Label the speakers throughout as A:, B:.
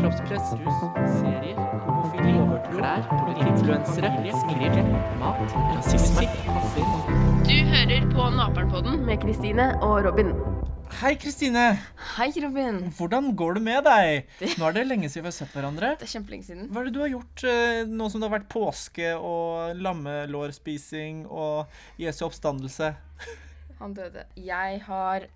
A: kroppspress, rus, serier, homofili, klær, influensere, skrill, mat, rasisme, passer.
B: Du hører på Naperen-podden med Kristine og Robin.
C: Hei, Kristine.
B: Hei, Robin.
C: Hvordan går det med deg? Nå er det lenge siden vi har sett hverandre.
B: Det er kjempelenge siden.
C: Hva er det du har gjort eh, nå som det har vært påske og lammelårspising og Jesu oppstandelse?
B: Han døde. Jeg har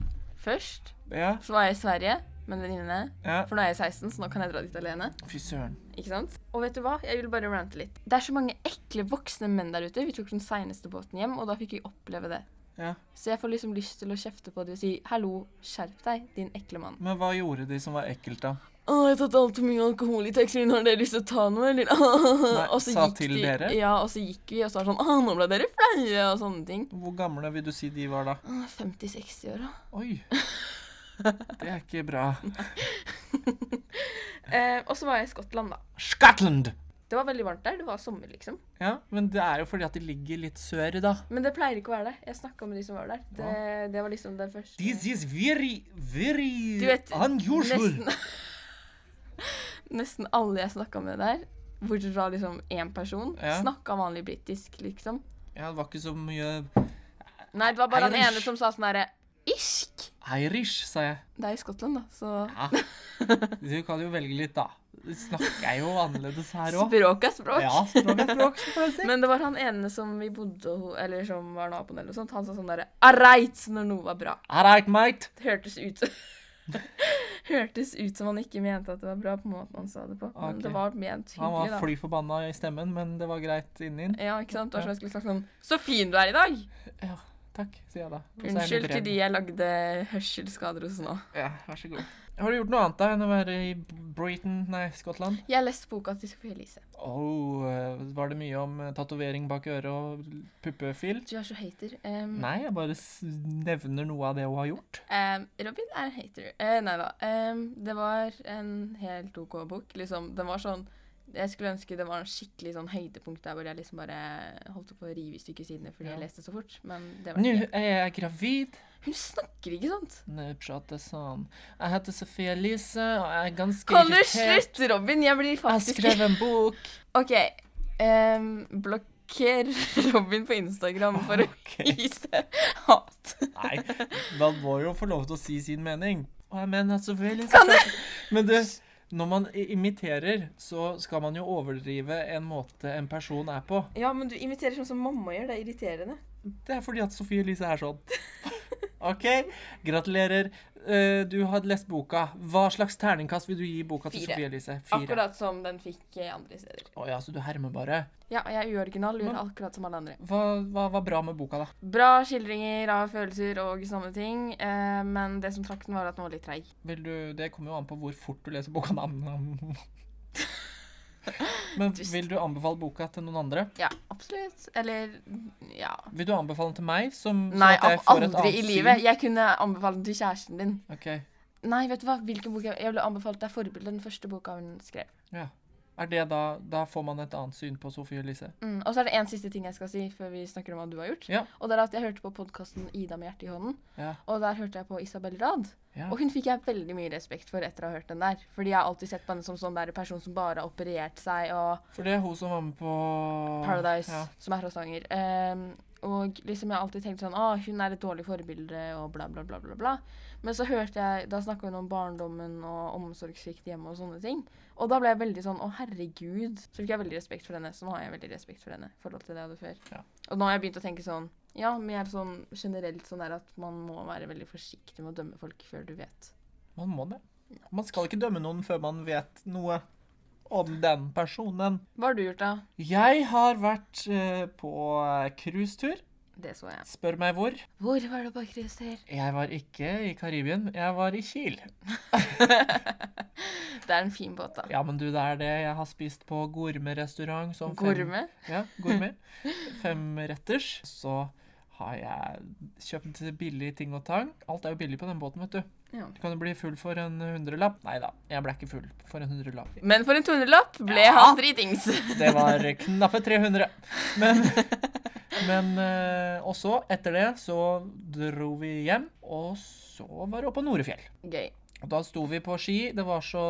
B: Først
C: Ja,
B: så var jeg i Sverige med en venninne.
C: ja.
B: For nå er jeg 16, så nå kan jeg dra dit alene.
C: Fy søren.
B: Ikke sant? Og vet du hva? Jeg vil bare rante litt. Det er så mange ekle voksne menn der ute. Vi tok den seneste båten hjem, og da fikk vi oppleve det.
C: Ja.
B: Så jeg får liksom lyst til å kjefte på det og si 'hallo, skjerp deg, din ekle mann'.
C: Men hva gjorde de som var ekkelt, da?
B: Å, jeg har tatt altfor mye alkohol i taxfree, har dere lyst til å ta noe, eller? Nei,
C: sa til dere?
B: Ja, og så gikk vi, og så var det sånn, å, nå ble dere flaue, og sånne ting.
C: Hvor gamle vil du si de var da?
B: Å, 50-60 år, da.
C: Oi. Det er ikke bra.
B: Eh, og så var jeg i Skottland, da.
C: Scotland!
B: Det var veldig varmt der, det var sommer, liksom.
C: Ja, men det er jo fordi at de ligger litt sør, da.
B: Men det pleier ikke å være det. Jeg snakket med de som var der. Det, det var liksom det første.
C: This is very, very
B: Du vet,
C: unusual.
B: nesten, nesten alle jeg snakket med der, bortsett fra liksom én person,
C: Ja.
B: snakket vanlig britisk, liksom.
C: Ja, det var ikke så mye
B: Nei, det var bare den
C: Irish.
B: ene som sa sånn derre, irsk!
C: Irish, sa jeg.
B: Det er i Skottland, da, så...
C: Ja. Du kan jo velge litt, da. Det snakker jeg jo annerledes her òg.
B: Språk er språk.
C: Ja, språk er språk, som jeg sier.
B: Men det var han ene som vi bodde ho- eller som var naboen, eller noe sånt, han sa sånn derre Areit! Når noe var bra.
C: All right, mate.
B: Det hørtes ut Hørtes ut som han ikke mente at det var bra, på måten han sa det på. Men
C: Ok.
B: det var ment
C: Han
B: hyggelig,
C: var
B: da.
C: fly forbanna i stemmen, men det var greit inni den.
B: Ja, ikke sant? Det var som jeg skulle sagt sånn Så fin du er i dag!
C: Ja, takk, sier jeg da. Og så er jeg
B: Unnskyld
C: litt
B: til
C: redd.
B: de jeg lagde hørselsskader hos nå.
C: Ja, vær så god. Har du gjort noe annet da enn å være i Britain, nei, Skottland?
B: Jeg har lest boka til Sophie Elise.
C: Oh, eh, var det mye om eh, tatovering bak øret og puppefil?
B: Du er så hater. Um,
C: Nei, jeg bare s- nevner noe av det hun har gjort.
B: um, Robin er en hater. Eh, nei da. Um, det var en helt OK bok. Liksom, den var sånn Jeg skulle ønske det var en skikkelig sånn høydepunkt der hvor jeg liksom bare holdt på å rive i stykker sidene fordi
C: Ja.
B: jeg leste så fort. Men det var
C: Nå
B: det ikke.
C: er jeg gravid.
B: Hun snakker ikke sånt!
C: Nå prater jeg sånn. Jeg heter Sofie Elise, og jeg er ganske
B: Kan du
C: irritert.
B: slutte, Robin? Jeg blir
C: Jeg
B: faktisk
C: skrev en bok.
B: OK. Um, blokker Robin på Instagram for å vise hat.
C: Nei, da må jo få lov til å si sin mening. Og jeg mener selvfølgelig
B: Kan du
C: Men du, når man i- imiterer, så skal man jo overdrive en måte en person er på.
B: Ja, men du inviterer sånn som mamma gjør. Det er irriterende.
C: Det er fordi at Sofie Elise er sånn. OK, gratulerer. Eh, Du har lest boka. Hva slags terningkast vil du gi boka til
B: Fire.
C: Sofie Elise?
B: Akkurat som den fikk eh, andre steder.
C: Å ja, så du hermer bare.
B: Ja, og jeg er uoriginal, gjør
C: Men-
B: akkurat som alle andre.
C: Hva hva var bra med boka, da?
B: Bra skildringer av følelser og sånne ting, eh, men det som trakk den, var at den var litt treig.
C: Vil du, det kommer jo an på hvor fort du leser boka. da. Men
B: Dust.
C: vil du anbefale boka til noen andre?
B: Ja, absolutt. Eller ja.
C: Vil du anbefale den til meg? Som, sånn
B: Nei,
C: at jeg
B: av
C: får et
B: aldri
C: annet
B: i
C: syn?
B: livet. Jeg kunne anbefalt den til kjæresten din.
C: Ok,
B: Nei, vet du hva? Hvilken bok jeg, jeg ville anbefalt deg forbildet, den første boka hun skrev.
C: ja. Er det da, da får man et annet syn på Sofie Elise.
B: Mm. Og så er det en siste ting jeg skal si før vi snakker om hva du har gjort.
C: Ja.
B: Og det er at jeg hørte på podkasten Ida med hjertet i hånden,
C: Ja.
B: og der hørte jeg på Isabel Rad.
C: Ja.
B: Og hun fikk jeg veldig mye respekt for etter å ha hørt den der. Fordi jeg har alltid sett på henne som sånn der person som bare har operert seg, og
C: For det er hun som var med på
B: Paradise,
C: Ja.
B: som er fra Stavanger. Ehm, og liksom jeg har alltid tenkt sånn ah, hun er et dårlig forbilde og bla, bla, bla. bla, bla. Men så hørte jeg, da snakka hun om barndommen og omsorgssvikt hjemme og sånne ting. Og da ble jeg veldig sånn å herregud. Så fikk jeg veldig respekt for henne. Så nå har jeg veldig respekt for henne i forhold til det jeg hadde før.
C: Ja.
B: Og nå har jeg begynt å tenke sånn ja, mer sånn generelt sånn der at man må være veldig forsiktig med å dømme folk før du vet.
C: Man må det. Man skal ikke dømme noen før man vet noe om den personen.
B: Hva har du gjort, da?
C: Jeg har vært eh, på eh, cruisetur.
B: Det så jeg.
C: Spør meg hvor.
B: Hvor var det på cruise her?
C: Jeg var ikke i Karibien, jeg var i Kiel.
B: Det er en fin båt, da.
C: Ja, men du, det er det jeg har spist på gourmetrestaurant. sånn fem-
B: Gourmet.
C: Ja, gourmet. Femretters. Så har jeg kjøpt billig ting og tang. Alt er jo billig på den båten, vet du.
B: Ja.
C: Du kan jo bli full for en hundrelapp. Nei da, jeg ble ikke full for en hundrelapp.
B: Men for en 200-lapp ble
C: Ja.
B: han dritings.
C: Det var knappe 300. Men, men eh, Og så, etter det, så dro vi hjem, og så var det oppe på Norefjell.
B: Gøy.
C: Og da sto vi på ski, det var så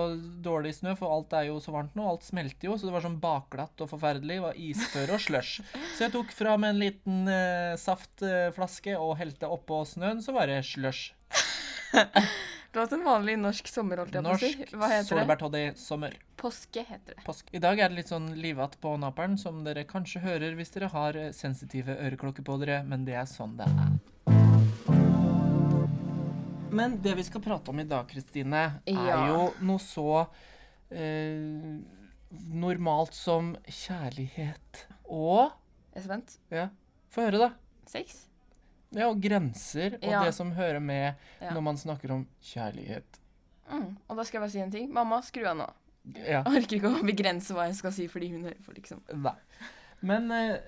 C: dårlig snø, for alt er jo så varmt nå, alt smelter jo, så det var sånn bakglatt og forferdelig, det var isføre og slush. Så jeg tok fram en liten eh, saftflaske og helte oppå snøen, så var det slush.
B: Det var en vanlig norsk sommer, holdt jeg på å si.
C: Norsk
B: Hva heter det?
C: solbærtoddy sommer.
B: Påske heter det.
C: Påsk. I dag er det litt sånn livatt på naperen, som dere kanskje hører hvis dere har eh, sensitive øreklokker på dere, men det er sånn det er. Men det vi skal prate om i dag, Kristine, er
B: Ja.
C: jo noe så eh, normalt som kjærlighet og
B: Jeg er spent.
C: Ja, få høre, da.
B: Sex?
C: Ja, og grenser og
B: Ja.
C: det som hører med
B: Ja.
C: når man snakker om kjærlighet.
B: Mm. Og da skal jeg bare si en ting. Mamma, skru av nå.
C: Ja.
B: Jeg orker ikke å begrense hva jeg skal si fordi hun hører på, liksom.
C: Nei. Men eh,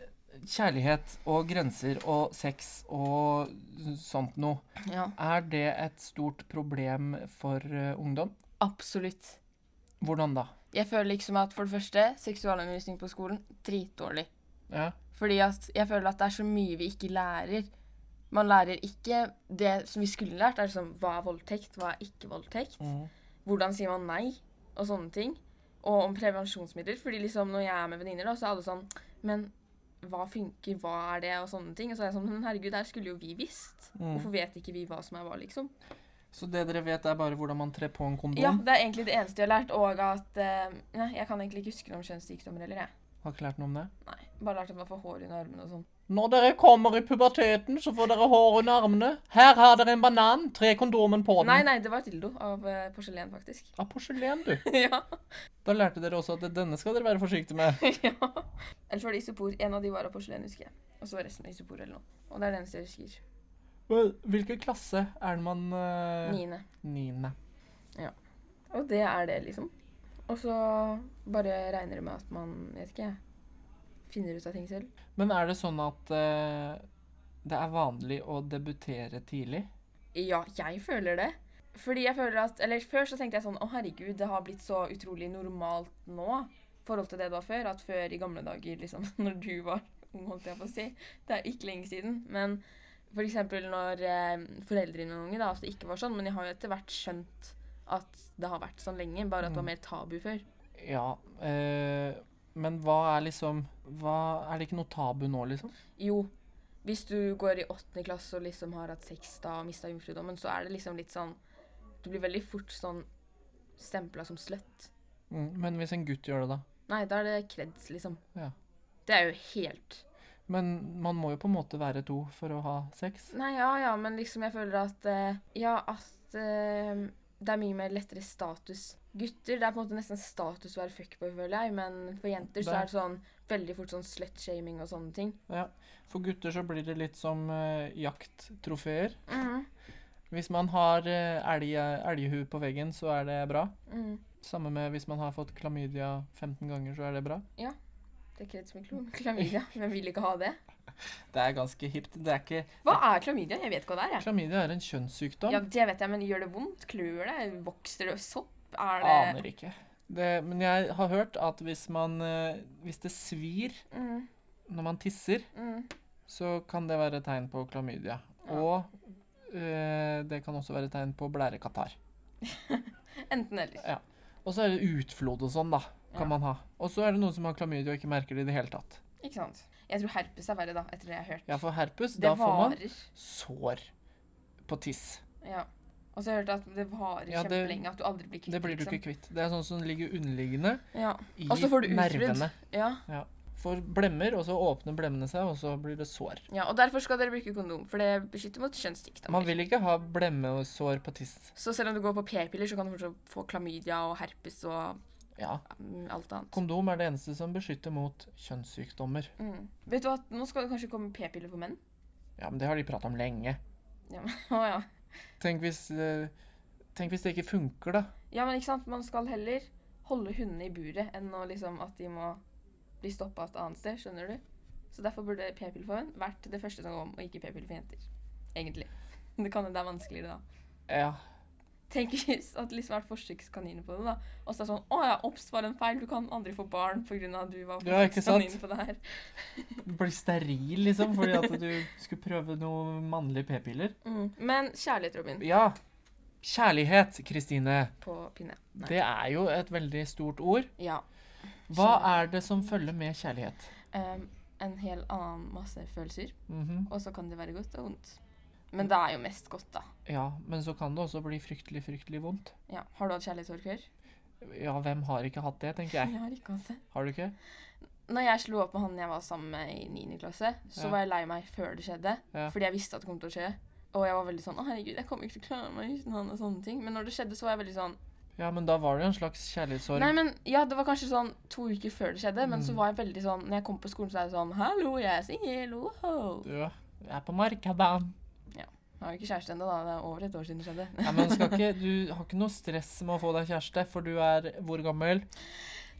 C: kjærlighet og grenser og sex og sånt noe,
B: Ja.
C: er det et stort problem for eh, ungdom?
B: Absolutt.
C: Hvordan da?
B: Jeg føler liksom at for det første, seksualundervisning på skolen, dritdårlig.
C: Ja.
B: Fordi at jeg føler at det er så mye vi ikke lærer. Man lærer ikke det som vi skulle lært. er liksom, Hva er voldtekt, hva er ikke voldtekt?
C: Mhm.
B: Hvordan sier man nei? Og sånne ting. Og om prevensjonsmidler. fordi liksom når jeg er med venninner, da, så er alle sånn Men hva funker, hva er det, og sånne ting. Og så er jeg sånn Men herregud, det her skulle jo vi visst.
C: Mm.
B: Hvorfor vet ikke vi hva som er hva, liksom?
C: Så det dere vet, er bare hvordan man trer på en kondom?
B: Ja, det er egentlig det eneste jeg har lært. Og at eh, Nei, jeg kan egentlig ikke huske noe om kjønnssykdommer heller, jeg.
C: Har ikke lært noe om det?
B: Nei, Bare lært at man får hår under armene og sånn.
C: Når dere kommer i puberteten, så får dere hår under armene. Her har dere en banan. Tre kondomen på den.
B: Nei, nei, det var dildo av eh, porselen, faktisk.
C: Av porselen, du.
B: ja.
C: Da lærte dere også at denne skal dere være forsiktige med.
B: ja. Ellers var det isopor. En av de var av porselen, husker jeg. Og så var resten av isopor eller noe. Og det er det eneste jeg husker.
C: Vel, Hvilken klasse er det man eh,
B: Niende.
C: Niende.
B: Og det er det, liksom. Og så bare regner det med at man, vet ikke jeg, finner ut av ting selv.
C: Men er det sånn at eh, det er vanlig å debutere tidlig?
B: Ja, jeg føler det. Fordi jeg føler at, eller Før så tenkte jeg sånn Å, herregud, det har blitt så utrolig normalt nå i forhold til det det var før. At før i gamle dager, liksom, når du var ung, holdt jeg på å si Det er ikke lenge siden. Men f.eks. når eh, foreldrene mine unge, da, at det ikke var sånn. Men jeg har jo etter hvert skjønt at det har vært sånn lenge, bare at det var mer tabu før.
C: Ja. eh, men hva er liksom hva, Er det ikke noe tabu nå, liksom?
B: Jo, hvis du går i åttende klasse og liksom har hatt sex da og mista jomfrudommen, så er det liksom litt sånn Du blir veldig fort sånn stempla som slutt.
C: Mm, men hvis en gutt gjør det, da?
B: Nei, da er det kreds, liksom.
C: Ja.
B: Det er jo helt
C: Men man må jo på en måte være to for å ha sex.
B: Nei, ja, ja, men liksom jeg føler at eh, Ja, at eh, det er mye mer lettere status. Gutter, det er på en måte nesten status å være fuckboy, føler jeg, men for jenter så
C: Det-
B: er det sånn veldig fort sånn slutshaming og sånne ting.
C: Ja. For gutter så blir det litt som eh, jakttrofeer.
B: Mm.
C: Hvis man har eh, elg, elghue på veggen, så er det bra.
B: Mm.
C: Samme med hvis man har fått klamydia 15 ganger, så er det bra.
B: Det er kreds med klo- klamydia. Hvem vil ikke ha det?
C: Det er ganske hipt. Det er ikke
B: Hva er klamydia? Jeg vet ikke hva det er, jeg.
C: Klamydia er en kjønnssykdom.
B: Ja, det vet jeg, men gjør det vondt? Klør det? Vokser det sopp? Er det
C: Aner ikke. Det, men jeg har hørt at hvis man eh, Hvis det svir
B: Mm,
C: når man tisser,
B: mm.
C: så kan det være tegn på klamydia.
B: Ja.
C: Og eh, det kan også være tegn på blærekatarr.
B: Enten eller.
C: Ja. Og så er det utflod og sånn, da. Kan
B: Ja.
C: man ha. Og så er det noen som har klamydia og ikke merker det i det hele tatt.
B: Ikke sant? Jeg tror herpes er verre, da, etter det jeg har hørt.
C: Ja, for herpes,
B: det
C: da får man
B: varer.
C: sår på tiss.
B: Ja. Og så har jeg hørt at det varer
C: Ja, det-
B: kjempelenge, at du aldri blir kvitt liksom.
C: Det blir du ikke kvitt. Det er sånn som ligger underliggende
B: Ja.
C: i
B: Og så får du utbrudd.
C: nervene.
B: Ja.
C: Får blemmer, og så åpner blemmene seg, og så blir det sår.
B: ja. Og derfor skal dere bruke kondom, for det beskytter mot
C: Man
B: kjønnssykdommer.
C: vil ikke ha blemme og sår på tiss.
B: Så selv om du går på p-piller, så kan du fortsatt få klamydia og herpes og
C: Ja.
B: mm, alt annet.
C: Kondom er det eneste som beskytter mot kjønnssykdommer.
B: Mm. Vet du at nå skal det kanskje komme p-piller for menn?
C: Ja, men det har de prata om lenge.
B: Ja, men, å, ja.
C: Tenk hvis, eh, tenk hvis det ikke funker, da.
B: Ja, men ikke sant? Man skal heller holde hundene i buret enn å liksom at de må bli stoppa et annet sted, skjønner du? Så derfor burde p-piller for menn vært det første som kom, og ikke p-piller for jenter. Egentlig. Men Det kan hende det er vanskeligere, da.
C: Ja.
B: Tenk hvis at det liksom har vært forsøkskaniner på det, da. Og så er det sånn Å ja, obs, var det en feil. Du kan aldri få barn pga. at du var
C: Ja, ikke sant?
B: forsøkskanin på det her.
C: Blir steril, liksom, fordi at du skulle prøve noe mannlige p-piller.
B: Mm. Men kjærlighet, Robin.
C: Ja. Kjærlighet, Kristine.
B: på pinne. Nei.
C: Det er jo et veldig stort ord.
B: Ja.
C: Hva er det som følger med kjærlighet?
B: Em, en hel annen masse følelser.
C: Mhm.
B: Og så kan det være godt og vondt. Men det er jo mest godt, da.
C: Ja, men så kan det også bli fryktelig, fryktelig vondt.
B: Ja. Har du hatt kjærlighetssorg før?
C: Ja, hvem har ikke hatt det, tenker jeg.
B: Jeg har ikke hatt det.
C: Har du ikke?
B: Når jeg slo opp med han jeg var sammen med i 9. klasse, så
C: Ja.
B: var jeg lei meg før det skjedde.
C: Ja.
B: Fordi jeg visste at det kom til å skje. Og jeg var veldig sånn Å, herregud, jeg kommer ikke til å klare meg uten han og sånne ting. Men når det skjedde, så var jeg veldig sånn
C: Ja, men da var det jo en slags kjærlighetssorg.
B: Nei, men ja, det var kanskje sånn to uker før det skjedde, men så
C: Mm.
B: var jeg veldig sånn Når jeg kom på skolen, så er jeg sånn Hallo, jeg er singel, woho.
C: Ja, jeg er på markedet.
B: Jeg har jo ikke kjæreste ennå, da. Det er over et år siden det skjedde.
C: Ja, men skal ikke, du har ikke noe stress med å få deg kjæreste, for du er hvor gammel?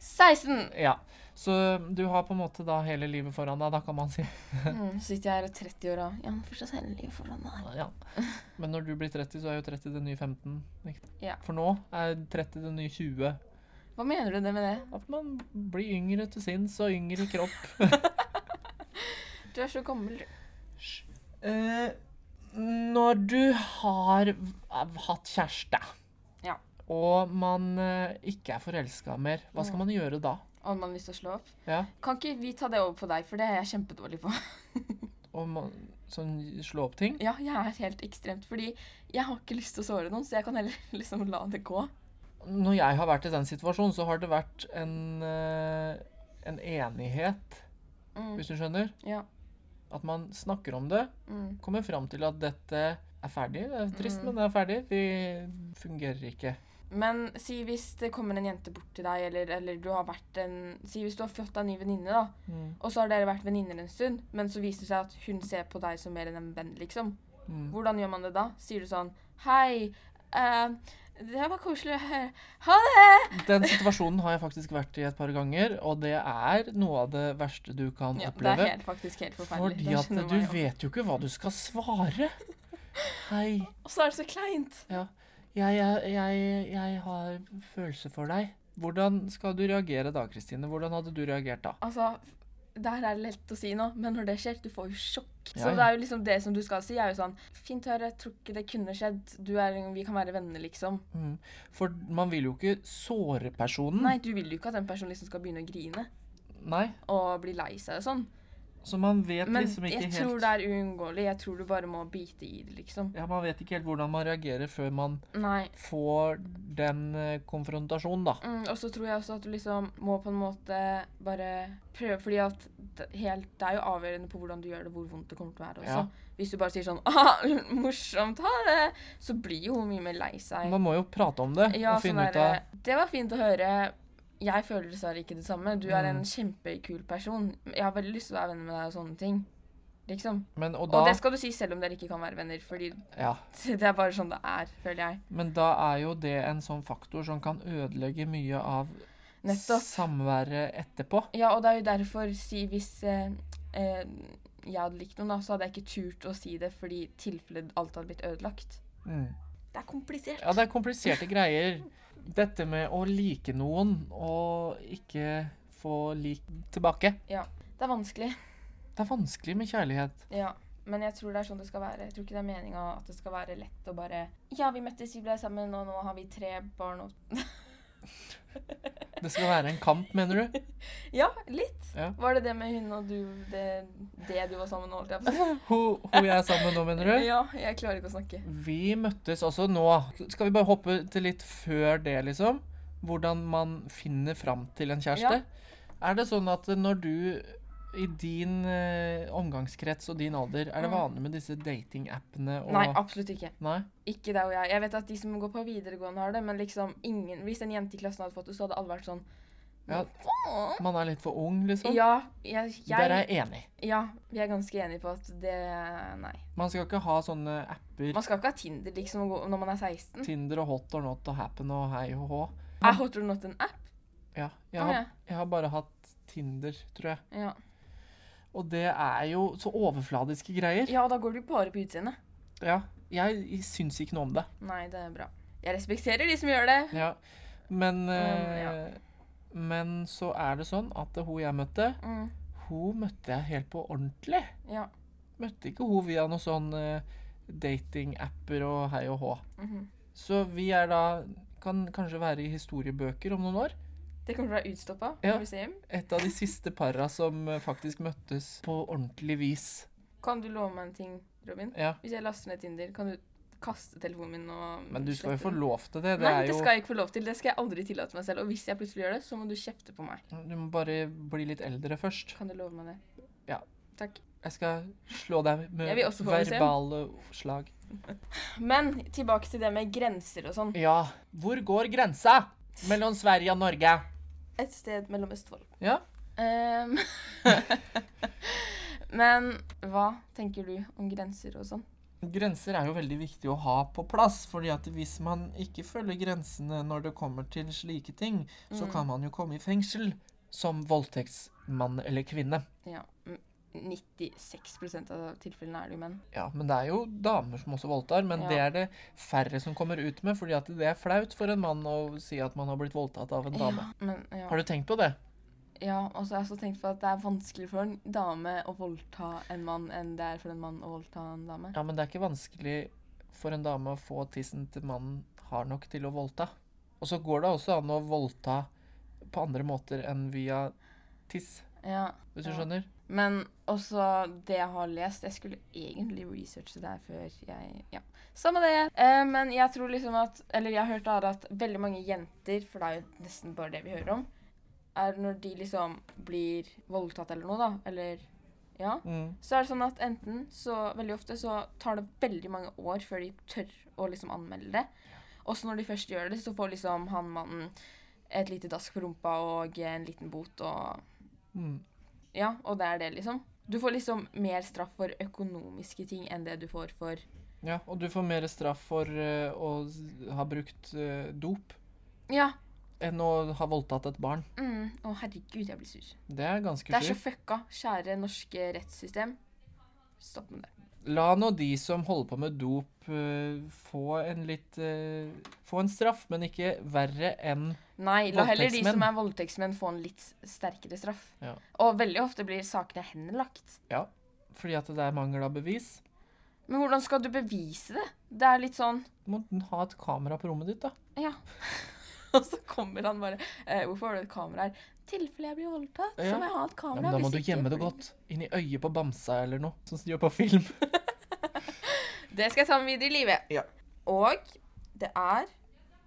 B: 16!
C: Ja. Så du har på en måte da hele livet foran deg, da kan man si.
B: Mm, så sitter jeg her og 30 år og Ja, men fortsatt hele livet foran meg.
C: Ja. Men når du blir 30, så er jo 30 det nye 15. Ikke?
B: Ja.
C: For nå er 30 det nye 20.
B: Hva mener du det med det?
C: At man blir yngre til sinns og yngre i kropp.
B: Du er så gammel, du.
C: Eh, når du har v- hatt kjæreste,
B: Ja.
C: og man eh, ikke er forelska mer, hva skal
B: Mm.
C: man gjøre da?
B: Om man har lyst til å slå opp.
C: Ja.
B: Kan ikke vi ta det over på deg, for det er jeg kjempedårlig på.
C: Og man, sånn slå opp ting?
B: Ja, jeg er helt ekstremt, fordi jeg har ikke lyst til å såre noen, så jeg kan heller liksom la det gå.
C: Når jeg har vært i den situasjonen, så har det vært en, eh, en enighet,
B: Mm.
C: hvis du skjønner.
B: Ja.
C: At man snakker om det,
B: Mm.
C: kommer fram til at dette er ferdig. Det er trist,
B: Mm.
C: men det er ferdig. Vi fungerer ikke.
B: Men si hvis det kommer en jente bort til deg, eller, eller du har vært en Si hvis du har fått deg en ny venninne, da,
C: Mm.
B: og så har dere vært venninner en stund, men så viser det seg at hun ser på deg som mer enn en venn, liksom.
C: Mm.
B: Hvordan gjør man det da? Sier du sånn Hei, eh, det var koselig å høre. Ha det!
C: Den situasjonen har jeg faktisk vært i et par ganger, og det er noe av det verste du kan
B: Ja, det er
C: oppleve.
B: helt, faktisk helt forferdelig.
C: Fordi
B: Det
C: at
B: skjønner
C: du
B: meg jo.
C: vet jo ikke hva du skal svare. Hei.
B: Og så er det så kleint.
C: Ja. Jeg, jeg, jeg, jeg har følelser for deg. Hvordan skal du reagere da, Kristine? Hvordan hadde du reagert da?
B: Altså, der er det lett å si noe, men når det skjer, du får jo sjokk. Så
C: Ja, ja.
B: det er jo liksom det som du skal si, er jo sånn Fint å høre, jeg tror ikke det kunne skjedd. Du er, vi kan være venner, liksom.
C: Mm. For man vil jo ikke såre personen.
B: Nei, du vil jo ikke at en person liksom skal begynne å grine
C: Nei.
B: og bli lei seg og sånn.
C: Så man vet
B: Men
C: liksom ikke
B: jeg
C: helt
B: tror det er uunngåelig. Jeg tror du bare må bite i det, liksom.
C: Ja, Man vet ikke helt hvordan man reagerer før man
B: Nei.
C: får den eh, konfrontasjonen, da.
B: Mm, og så tror jeg også at du liksom må på en måte bare prøve, fordi at det, helt, det er jo avgjørende på hvordan du gjør det, hvor vondt det kommer til å være også.
C: Ja.
B: Hvis du bare sier sånn ah, 'morsomt, ha det', så blir jo hun mye mer lei seg.
C: Man må jo prate om det og
B: Ja, sånn
C: finne ut av
B: derre, Det var fint å høre. Jeg føler dessverre ikke det samme. Du er en
C: Mm.
B: kjempekul person. Jeg har veldig lyst til å være venner med deg og sånne ting. Liksom.
C: men, og
B: Og
C: da,
B: det skal du si selv om dere ikke kan være venner, fordi
C: ja,
B: det er bare sånn det er, føler jeg.
C: men da er jo det en sånn faktor som kan ødelegge mye av
B: Nettopp.
C: samværet etterpå.
B: Ja, og det er jo derfor, si hvis eh, eh, jeg hadde likt noen, da, så hadde jeg ikke turt å si det fordi i tilfelle alt hadde blitt ødelagt.
C: Mm.
B: Det er komplisert.
C: Ja, det er kompliserte greier. Dette med å like noen og ikke få lik tilbake.
B: Det er vanskelig.
C: Det er vanskelig med kjærlighet.
B: Ja. Men jeg tror det er sånn det skal være. Jeg tror ikke det er meninga at det skal være lett å bare Ja, vi møttes, vi ble sammen, og nå har vi tre barn og
C: Det skal være en kamp, mener du?
B: Ja, litt.
C: Ja.
B: Var det det med hun og du Det, det du var sammen med, holdt jeg på å si?
C: Hun hun jeg er sammen med nå, mener du?
B: Ja, jeg klarer ikke å snakke.
C: Vi møttes altså nå. Skal vi bare hoppe til litt før det, liksom? Hvordan man finner fram til en kjæreste? Er det sånn at når du i din eh, omgangskrets og din alder, er det
B: Mm.
C: vanlig med disse datingappene og
B: Nei, absolutt ikke.
C: Nei?
B: Ikke deg og jeg. Jeg vet at de som går på videregående har det, men liksom ingen Hvis en jente i klassen hadde fått det, så hadde alle vært sånn
C: Ja,
B: Faen.
C: man er litt for ung, liksom?
B: Ja, jeg,
C: Der er
B: jeg
C: jeg enig.
B: Ja, vi er ganske enige på at det Nei.
C: Man skal ikke ha sånne apper.
B: Man skal ikke ha Tinder liksom og gå- når man er 16.
C: Tinder og hot or not og happen og hei og hå.
B: Er Hot or not en app?
C: Ja, jeg
B: Å,
C: har,
B: Ah, ja.
C: jeg har bare hatt Tinder, tror jeg.
B: Ja.
C: Og det er jo så overfladiske greier.
B: ja, og da går du bare på utseendet.
C: Ja. Jeg syns ikke noe om det.
B: Nei, det er bra. Jeg respekterer de som gjør det.
C: Ja, men eh,
B: ja.
C: Men så er det sånn at hun jeg møtte,
B: Mm,
C: hun møtte jeg helt på ordentlig.
B: ja.
C: Møtte ikke hun via noen sånn eh, datingapper og hei og hå.
B: mhm.
C: Så vi er da kan kanskje være i historiebøker om noen år.
B: Det kommer til å være utstoppa
C: Ja.
B: på museum.
C: Et av de siste para som eh, faktisk møttes på ordentlig vis.
B: Kan du love meg en ting, Robin?
C: Ja.
B: Hvis jeg laster ned Tinder, kan du kaste telefonen min og
C: Men du skal jo
B: slette
C: få
B: den?
C: lov til det. Det
B: Nei,
C: er
B: det
C: jo
B: skal jeg ikke få lov til. Det skal jeg aldri tillate meg selv. Og hvis jeg plutselig gjør det, så må du kjefte på meg.
C: Du må bare bli litt eldre først.
B: Kan du love meg det?
C: Ja.
B: Takk.
C: Jeg skal slå deg med
B: Jeg vil også få museum.
C: verbale slag.
B: Men tilbake til det med grenser og sånn.
C: Ja. Hvor går grensa mellom Sverige og Norge?
B: Et sted mellom Østfold.
C: Ja.
B: Ehm, Men hva tenker du om grenser og sånn?
C: Grenser er jo veldig viktig å ha på plass, fordi at hvis man ikke følger grensene når det kommer til slike ting,
B: Mm.
C: så kan man jo komme i fengsel som voldtektsmann eller -kvinne.
B: Ja, mm, 96 av tilfellene er det jo menn.
C: Ja, men det er jo damer som også voldtar, men
B: Ja.
C: det er det færre som kommer ut med, fordi at det er flaut for en mann å si at man har blitt voldtatt av en dame.
B: Ja, men, ja.
C: Har du tenkt på det?
B: Ja, og så har jeg også tenkt på at det er vanskelig for en dame å voldta en mann enn det er for en mann å voldta en dame.
C: Ja, men det er ikke vanskelig for en dame å få tissen til mannen har nok til å voldta. Og så går det også an å voldta på andre måter enn via tiss,
B: Ja,
C: hvis du
B: Ja.
C: skjønner?
B: Men også det jeg har lest Jeg skulle egentlig researche det her før jeg Ja, samme det. Eh, men jeg tror liksom at Eller jeg har hørt da at veldig mange jenter, for det er jo nesten bare det vi hører om, er når de liksom blir voldtatt eller noe, da, eller Ja.
C: Mm.
B: Så er det sånn at enten så veldig ofte så tar det veldig mange år før de tør å liksom anmelde det. Og så når de først gjør det, så får liksom han mannen et lite dask på rumpa og en liten bot og
C: Mm.
B: Ja, og det er det, liksom. Du får liksom mer straff for økonomiske ting enn det du får for
C: Ja, og du får mer straff for eh, å s- ha brukt eh, dop
B: Ja.
C: enn å ha voldtatt et barn.
B: Mm. Å, herregud, jeg blir sur.
C: Det er ganske
B: Det er så
C: sjukt.
B: fucka. Kjære norske rettssystem. Stopp med det.
C: La nå de som holder på med dop eh, få en litt eh, Få en straff, men ikke verre enn
B: Nei, la heller de som
C: Voldtektsmenn.
B: er voldtektsmenn, få en litt s- sterkere straff.
C: Ja.
B: Og veldig ofte blir sakene henlagt.
C: Ja, fordi at det er mangel av bevis.
B: Men hvordan skal du bevise det? Det er litt sånn
C: Du må ha et kamera på rommet ditt, da.
B: Ja. Og så kommer han bare eh, 'Hvorfor har du et kamera her?' 'Tilfelle jeg blir voldtatt,
C: Ja.
B: så må jeg ha et
C: Ja,
B: kamera.'
C: men da må
B: hvis
C: du
B: ikke
C: gjemme det
B: blir-
C: godt. Inn i øyet på bamsa eller noe, sånn som de gjør på film.
B: Det skal jeg ta med videre i livet.
C: Ja.
B: Og det er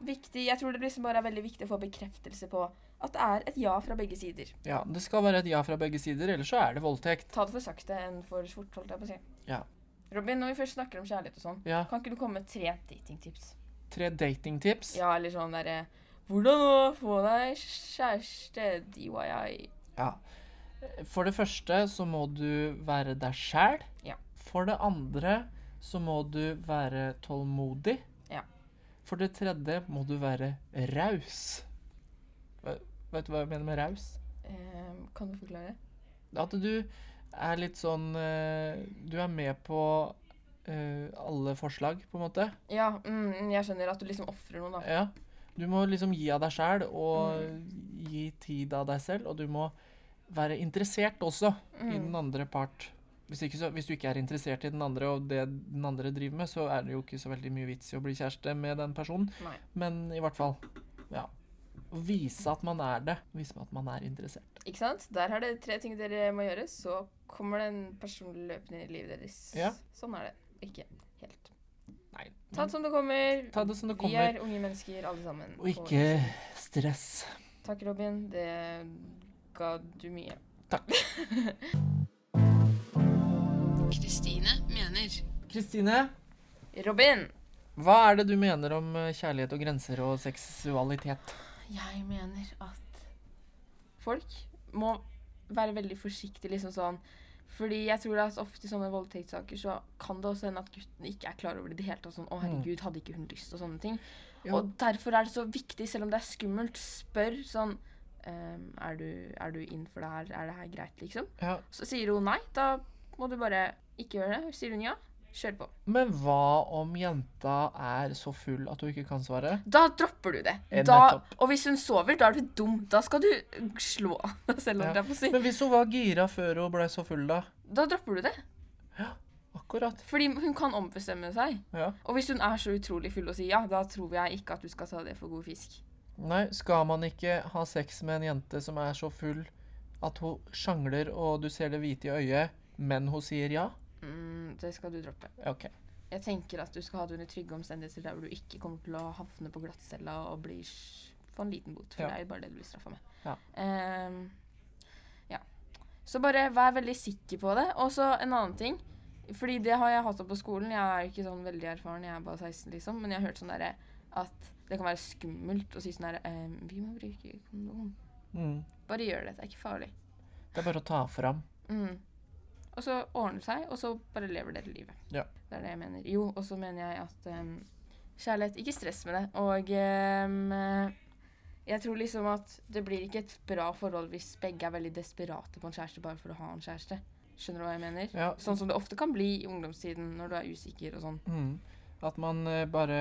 B: viktig Jeg tror det liksom bare er veldig viktig å få bekreftelse på at det er et ja fra begge sider.
C: Ja, Det skal være et ja fra begge sider, ellers så er det voldtekt.
B: Ta det for sakte enn for fort, holdt jeg på å si.
C: Ja.
B: Robin, når vi først snakker om kjærlighet og sånn,
C: Ja,
B: kan ikke du komme med tre datingtips?
C: Tre datingtips.
B: Ja, eller sånn derre Hvordan å få deg kjæreste, DYI.
C: Ja. For det første så må du være deg sjæl.
B: Ja.
C: For det andre så må du være tålmodig.
B: Ja.
C: For det tredje må du være raus. Hva- Vet du hva jeg mener med raus?
B: Ehm, kan du forklare?
C: At du er litt sånn eh, Du er med på eh, alle forslag, på en måte.
B: Ja, mm, jeg skjønner at du liksom ofrer noen, da.
C: Ja. Du må liksom gi av deg sjæl, og
B: Mm.
C: gi tid av deg selv. Og du må være interessert også
B: Mm.
C: i den andre part. Hvis, ikke så, hvis du ikke er interessert i den andre og det den andre driver med, så er det jo ikke så veldig mye vits i å bli kjæreste med den personen.
B: Nei.
C: Men i hvert fall, ja. Å vise at man er det. Vise at man er interessert.
B: Ikke sant? Der har det tre ting dere må gjøre, så kommer det en person løpende i livet deres.
C: Ja.
B: Sånn er det. Ikke helt.
C: Nei.
B: Ta det som det kommer.
C: Ta det som det
B: Vi
C: kommer.
B: er unge mennesker, alle sammen.
C: Og ikke stress.
B: Takk, Robin. Det ga du mye.
C: Takk.
B: Kristine mener
C: Kristine,
B: Robin!
C: hva er det du mener om eh, kjærlighet og grenser og seksualitet?
B: Jeg mener at folk må være veldig forsiktige, liksom sånn. Fordi jeg tror at ofte i sånne voldtektssaker så kan det også hende at guttene ikke er klar over det i det hele tatt. Sånn 'Å, herregud, hadde ikke hun lyst?' og sånne ting.
C: Ja.
B: Og derfor er det så viktig, selv om det er skummelt, spør sånn ehm, er, du, 'Er du inn for det her? Er det her greit?' liksom.
C: Ja.
B: Så sier hun nei, da må du bare ikke gjøre det. Sier hun ja, kjør på.
C: Men hva om jenta er så full at hun ikke kan svare?
B: Da dropper du det.
C: Eh,
B: Da,
C: nettopp.
B: og hvis hun sover, da er du dum. Da skal du slå deg selv, om
C: Ja.
B: det er på å si.
C: Men hvis hun var gira før hun ble så full, da?
B: Da dropper du det.
C: Akkurat.
B: Fordi hun kan ombestemme seg.
C: Ja.
B: Og hvis hun er så utrolig full og sier ja, da tror jeg ikke at du skal ta det for god fisk.
C: Nei, skal man ikke ha sex med en jente som er så full at hun sjangler og du ser det hvite i øyet, men hun sier ja?
B: Mm, det skal du droppe.
C: OK.
B: Jeg tenker at du skal ha det under trygge omstendigheter der hvor du ikke kommer til å havne på glattcella og bli s- få en liten bot, for
C: Ja.
B: det er jo bare det du blir straffa med.
C: Ja.
B: Ehm, ja. Så bare vær veldig sikker på det. Og så en annen ting. Fordi det har jeg hatt opp på skolen. Jeg er ikke sånn veldig erfaren, jeg er bare 16, liksom. Men jeg har hørt sånn derre at det kan være skummelt å si sånn derre ehm, Vi må bruke kondom.
C: Mm.
B: Bare gjør det. Det er ikke farlig.
C: Det er bare å ta fram.
B: Mm. Og så ordner det seg, og så bare lever dere livet.
C: Ja.
B: Det er det jeg mener. Jo, og så mener jeg at em, kjærlighet Ikke stress med det. Og em, eh, jeg tror liksom at det blir ikke et bra forhold hvis begge er veldig desperate på en kjæreste bare for å ha en kjæreste. Skjønner du hva jeg mener?
C: Ja.
B: Sånn som det ofte kan bli i ungdomstiden når du er usikker og sånn.
C: Mm. At man eh, bare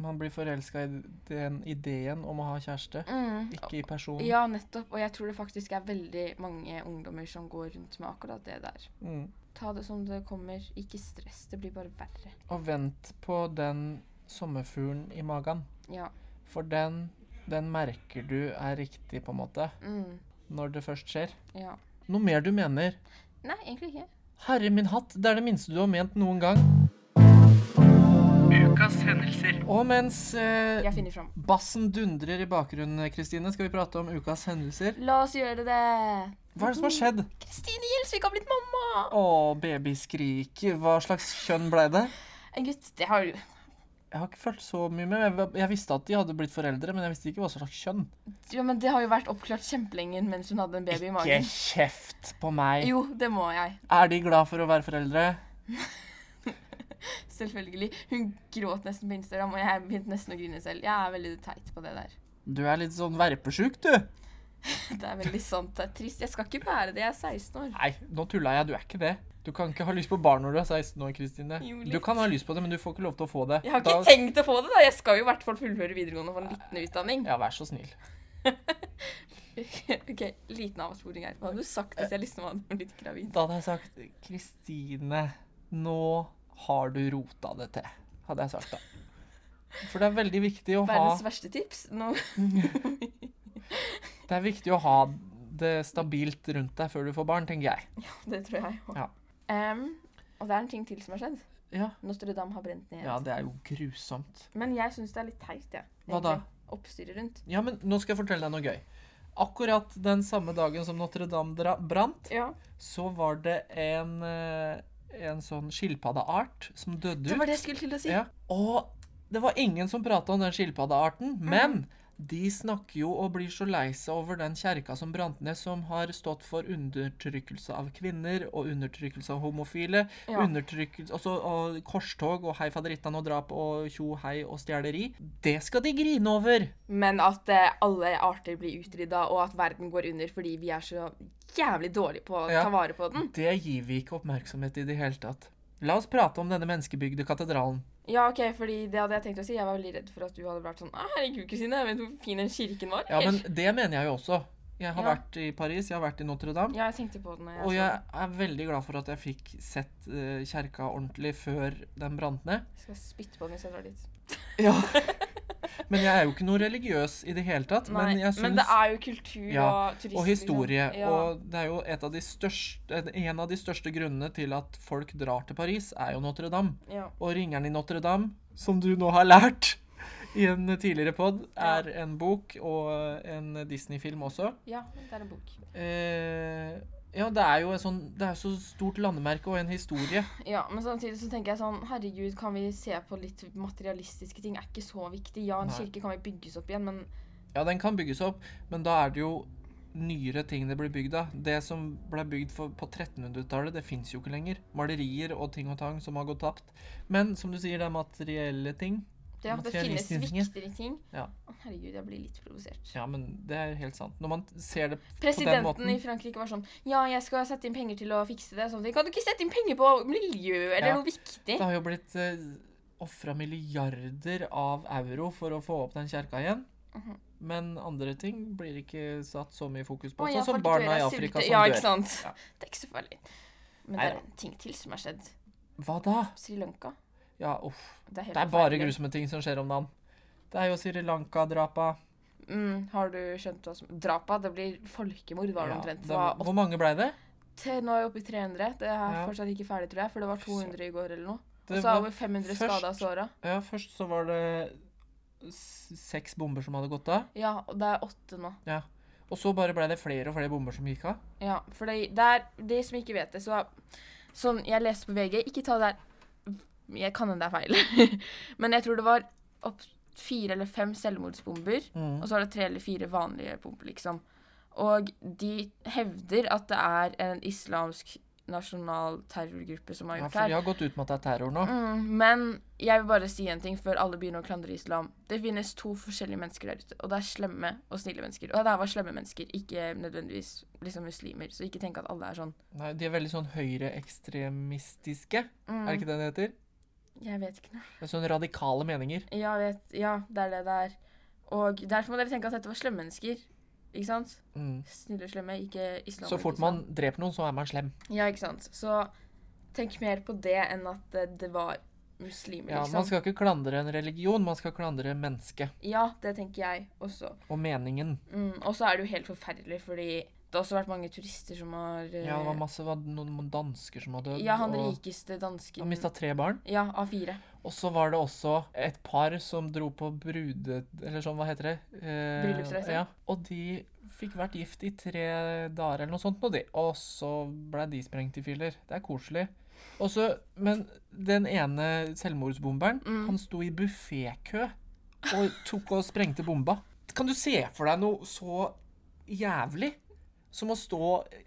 C: Man blir forelska i den ideen om å ha kjæreste,
B: Mm.
C: ikke i personen.
B: Ja, nettopp. Og jeg tror det faktisk er veldig mange ungdommer som går rundt med akkurat det der.
C: Mm.
B: Ta det som det kommer. Ikke stress. Det blir bare verre.
C: Og vent på den sommerfuglen i magen.
B: Ja.
C: For den, den merker du er riktig, på en måte,
B: Mm.
C: når det først skjer.
B: Ja.
C: Noe mer du mener?
B: Nei, egentlig ikke.
C: Herre min hatt, det er det minste du har ment noen gang. Ukas hendelser. Og mens eh,
B: Jeg finner fram.
C: bassen dundrer i bakgrunnen, Kristine, skal vi prate om ukas hendelser.
B: La oss gjøre det!
C: Hva er det som har skjedd?
B: Kristine Gjelsvik har blitt mamma!
C: Å, babyskrik. Hva slags kjønn ble det?
B: En gutt, det har du.
C: Jeg har ikke følt så mye med. Jeg, jeg visste at de hadde blitt foreldre, men jeg visste ikke hva slags kjønn.
B: Ja, men det har jo vært oppklart kjempelenge mens hun hadde en baby i
C: Ikke
B: magen.
C: kjeft på meg.
B: Jo, det må jeg.
C: Er de glad for å være foreldre?
B: Selvfølgelig. Hun gråt nesten på Instagram, og jeg begynte nesten å grine selv. Jeg er veldig teit på det der.
C: Du er litt sånn verpesjuk, du.
B: Det er veldig sant. Det er trist. Jeg skal ikke være det. Jeg er 16 år.
C: Nei, nå tulla jeg. Du er ikke det. Du kan ikke ha lyst på barn når du er 16 år, Kristine.
B: Jo,
C: Du
B: litt.
C: kan ha lyst på det, men du får ikke lov til å få det.
B: Jeg har
C: Da-
B: ikke tenkt å få det, da. Jeg skal jo i hvert fall fullføre videregående og få en liten utdanning.
C: Ja, vær så snill.
B: OK, liten avsporing her. Hva hadde du sagt hvis jeg liksom hadde blitt gravid?
C: Da hadde jeg sagt Kristine, nå har du rota det til. Hadde jeg sagt da. For det er veldig viktig å ha
B: Verdens verste tips. Nå
C: Det er viktig å ha det stabilt rundt deg før du får barn, tenker jeg.
B: Det tror jeg òg.
C: Ja.
B: og det er en ting til som har skjedd.
C: Ja,
B: Notre-Dame har brent ned.
C: ja det er jo grusomt.
B: Men jeg syns det er litt teit, jeg.
C: Hva da?
B: egentlig. Oppstyret rundt.
C: Ja, men nå skal jeg fortelle deg noe gøy. Akkurat den samme dagen som Notre-Dame dra- brant,
B: Ja.
C: så var det en, eh, en sånn skilpaddeart som døde ut.
B: Det var det jeg skulle til å si.
C: Ja. Og det var ingen som prata om den skilpaddearten,
B: Mhm.
C: men de snakker jo og blir så lei seg over den kjerka som brant ned, som har stått for undertrykkelse av kvinner og undertrykkelse av homofile.
B: Ja.
C: Undertrykkelse også, og korstog og hei faderittan og drap og tjo hei og stjeleri. Det skal de grine over!
B: Men at eh, alle arter blir utrydda, og at verden går under fordi vi er så jævlig dårlige på å
C: Ja.
B: ta vare på den.
C: Det gir vi ikke oppmerksomhet i det hele tatt. La oss prate om denne menneskebygde katedralen.
B: Ja, OK, fordi det hadde jeg tenkt å si. Jeg var veldig redd for at du hadde vært sånn «Ah, Herregud, kusine, jeg vet hvor fin den kirken var.
C: Ja, men
B: eller?»
C: det mener jeg jo også. Jeg har
B: Ja.
C: vært i Paris, jeg har vært i Notre-Dame.
B: ja jeg tenkte på den. når
C: Og
B: så
C: jeg er veldig glad for at jeg fikk sett eh, kjerka ordentlig før den brant ned.
B: den. Skal spytte på den hvis jeg drar dit.
C: Ja. Men jeg er jo ikke noe religiøs i det hele tatt.
B: Nei,
C: men jeg syns
B: det er jo kultur
C: Ja,
B: og turisme.
C: og historie.
B: Liksom. Ja.
C: Og det er jo et av de største, en av de største grunnene til at folk drar til Paris, er jo Notre-Dame.
B: ja.
C: Og Ringeren i Notre-Dame, som du nå har lært i en tidligere pod, er en bok og en Disney-film også.
B: ja, det er en bok.
C: Eh, ja, det er jo et sånn, det er så stort landemerke og en historie.
B: Ja, men samtidig så tenker jeg sånn Herregud, kan vi se på litt materialistiske ting? Er ikke så viktig. Ja, en
C: Nei.
B: kirke kan vi bygges opp igjen, men
C: Ja, den kan bygges opp, men da er det jo nyere ting det blir bygd av. Det som ble bygd for, på 1300-tallet, det fins jo ikke lenger. Malerier og ting og tang som har gått tapt. Men som du sier, det er materielle ting.
B: det, det finnes
C: Materialistiske ting.
B: viktigere ting.
C: Ja.
B: Å, Herregud, jeg blir litt provosert.
C: Ja, men det er helt sant. Når man ser det
B: Presidenten
C: måten.
B: i Frankrike var sånn Ja, jeg skal sette inn penger til å fikse det. og Sånne ting. Kan du ikke sette inn penger på miljø eller
C: Ja.
B: noe viktig?
C: Det har jo blitt eh, ofra milliarder av euro for å få opp den kjerka igjen.
B: Mhm.
C: Men andre ting blir ikke satt så mye fokus på.
B: Å, ja,
C: sånn som
B: folk
C: barna
B: dør
C: i
B: av
C: Afrika
B: sulte.
C: som
B: ja,
C: dør.
B: Ikke sant?
C: Ja.
B: Det er ikke så farlig. Men
C: Nei
B: det
C: da.
B: er en ting til som har skjedd.
C: Hva da?
B: Sri Lanka.
C: Ja, uff.
B: Det er, helt
C: Det er bare
B: forferdelig.
C: grusomme ting som skjer om dagen. Det er jo Sri Lanka-drapa.
B: Mm, har du skjønt hva som Drapa? Det blir folkemord, var det
C: Ja, det-
B: omtrent. Det var
C: Hvor mange blei det?
B: åtte, nå er vi oppe i 300. Det er
C: Ja.
B: fortsatt ikke ferdig, tror jeg, for det var 200 i går eller noe. Og
C: Det
B: så er
C: var-
B: over 500
C: først-
B: skada og såra.
C: Ja, først så var det s- seks bomber som hadde gått av.
B: Ja, og det er åtte nå.
C: Ja. Og så bare blei det flere og flere bomber som gikk av.
B: Ja, for de, der, de som ikke vet det, så Sånn jeg leste på VG Ikke ta det der Jeg kan hende det er feil. Men jeg tror det var opp fire eller fem selvmordsbomber.
C: Mm.
B: Og så var det tre eller fire vanlige bomber, liksom. Og de hevder at det er en islamsk nasjonal terrorgruppe som har
C: Ja,
B: gjort
C: for
B: det
C: de
B: her.
C: har gått ut med at det er terror nå.
B: Mm, men jeg vil bare si en ting før alle begynner å klandre islam. Det finnes to forskjellige mennesker der ute, og det er slemme og snille mennesker. Og det her var slemme mennesker, ikke nødvendigvis liksom muslimer. Så ikke tenk at alle er sånn.
C: Nei, de er veldig sånn høyreekstremistiske.
B: Mm,
C: Er det ikke det det heter?
B: Jeg vet ikke noe.
C: Det er sånne radikale meninger.
B: Ja, vet, ja, det er det det er. Og derfor må dere tenke at dette var slemme mennesker. Ikke sant?
C: Mm.
B: Snille og slemme, ikke islam.
C: Så
B: og
C: fort
B: islam.
C: man dreper noen, så er man slem.
B: Ja, ikke sant. Så tenk mer på det enn at eh, det var muslimer,
C: Ja, Man
B: liksom.
C: skal ikke klandre en religion, man skal klandre mennesket
B: Ja, det tenker jeg også.
C: og meningen.
B: Mm, og så er det jo helt forferdelig, fordi det har også vært mange turister som har eh,
C: Ja, det var masse det var noen dansker som hadde dødd.
B: Ja, han
C: og
B: rikeste dansken
C: han mista tre barn.
B: Ja, A4.
C: Og så var det også et par som dro på brude... Eller sånn, hva heter det? Eh,
B: Bryllupsreise.
C: Ja. Og de fikk vært gift i tre dager eller noe sånt på de. Og så blei de sprengt i filler. Det er koselig. Og så, men den ene selvmordsbomberen,
B: Mm.
C: han sto i buffékø og tok og sprengte bomba. Kan du se for deg noe så jævlig? Som å stå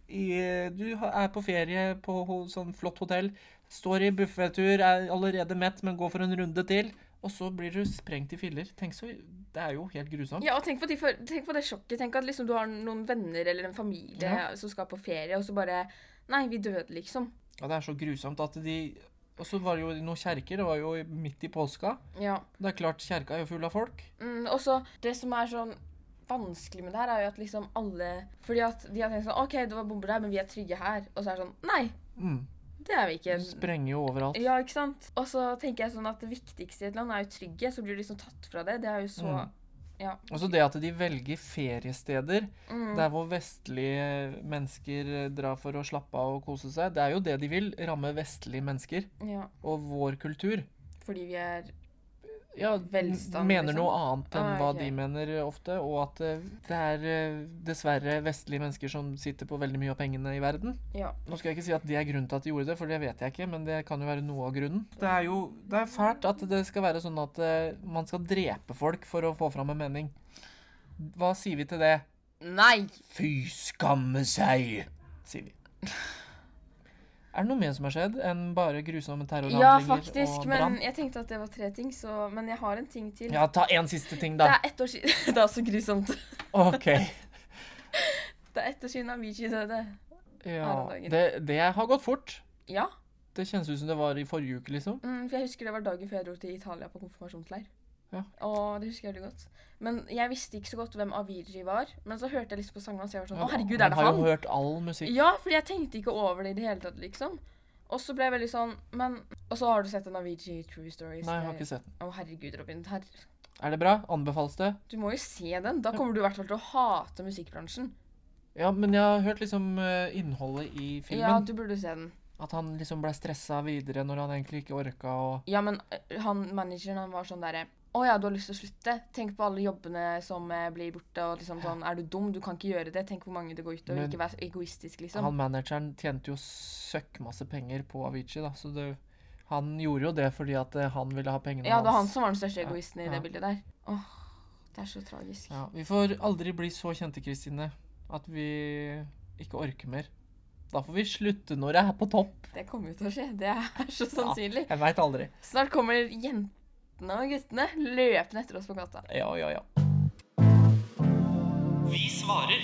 C: i Du ha- er på ferie på ho- sånn flott hotell, står i buffetur, er allerede mett, men går for en runde til. Og så blir du sprengt i filler. Tenk så, Det er jo helt grusomt.
B: Ja, og tenk på, de for, tenk på det sjokket. Tenk at liksom du har noen venner eller en familie
C: Ja.
B: som skal på ferie, og så bare Nei, vi døde, liksom.
C: Ja, det er så grusomt at de Og så var det jo noen kjerker. Det var jo midt i påska.
B: Ja.
C: Det er klart, kjerka er jo full av folk.
B: Mm, og så det som er sånn vanskelig med det her, er jo at liksom alle Fordi at de har tenkt sånn OK, det var bomber der, men vi er trygge her. Og så er det sånn Nei,
C: Mm.
B: det er vi ikke.
C: De sprenger jo overalt.
B: Ja, ikke sant? Og så tenker jeg sånn at det viktigste i et land er jo trygghet. Så blir du liksom tatt fra det. Det er jo så
C: Mm.
B: Ja.
C: Og så det at de velger feriesteder
B: Mm.
C: der hvor vestlige mennesker drar for å slappe av og kose seg. Det er jo det de vil, ramme vestlige mennesker
B: ja.
C: og vår kultur.
B: Fordi vi er
C: Ja,
B: Velstand,
C: mener
B: liksom.
C: noe annet enn
B: Ah,
C: hva
B: ok.
C: de mener ofte, og at eh, det er eh, dessverre vestlige mennesker som sitter på veldig mye av pengene i verden.
B: Ja.
C: Nå skal jeg ikke si at det er grunnen til at de gjorde det, for det vet jeg ikke, men det kan jo være noe av grunnen. Det er jo det er fælt at det skal være sånn at eh, man skal drepe folk for å få fram en mening. Hva sier vi til det?
B: Nei!
C: Fy skamme seg, sier vi. Er det noe mer som har skjedd enn bare grusomme terrorhandlinger
B: Ja,
C: og
B: faktisk.
C: brann?
B: Men jeg tenkte at det var tre ting, så Men jeg har en ting til.
C: Ja, ta en siste ting,
B: Det
C: da.
B: er ett år siden Det er så grusomt.
C: OK.
B: Det er ett år siden Avicii døde.
C: Ja,
B: Her om dagen.
C: det, det har gått fort.
B: Ja.
C: Det kjennes ut som det var i forrige uke, liksom.
B: Mm, for jeg husker det var dagen før jeg dro til Italia på konfirmasjonsleir.
C: Ja.
B: Og det husker jeg veldig godt. Men jeg visste ikke så godt hvem Avicii var. Men så hørte jeg liksom på sangen hans, og jeg var sånn Å, herregud, er det
C: Man har
B: han?
C: jo hørt all musikk.
B: Ja, fordi jeg tenkte ikke over det i det hele tatt, liksom. Og så ble jeg veldig sånn Men Og så har du sett en Avicii True Stories?
C: Nei, jeg har ikke sett den.
B: Å, herregud, Robin. Her,
C: Er det bra? Anbefales det?
B: du må jo se den. Da kommer du i hvert fall til å hate musikkbransjen.
C: Ja, men jeg har hørt liksom eh, innholdet i
B: Ja,
C: filmen.
B: du burde se den.
C: At han liksom ble stressa videre når han egentlig ikke orka og
B: Ja, men ø, han manageren, han var sånn derre å ja, du har lyst til å slutte? Tenk på alle jobbene som eh, blir borte. og liksom sånn, Er du dum? Du kan ikke gjøre det. Tenk hvor mange det går utover.
C: Men-
B: Ikke vær så egoistisk, liksom.
C: Han manageren tjente jo søkkmasse penger på Avicii, da, så det Han gjorde jo det fordi at eh, han ville ha pengene
B: ja, det var han som var den største
C: Ja,
B: egoisten i
C: ja.
B: det bildet der. Åh, det er så tragisk.
C: Ja, vi får aldri bli så kjente, Kristine, at vi ikke orker mer. Da får vi slutte når jeg er på topp.
B: Det kommer jo til å skje. Det er så sannsynlig.
C: Jeg veit aldri.
B: Snart kommer jentene og guttene løpende etter oss på gata.
C: Ja, ja, ja. Vi svarer.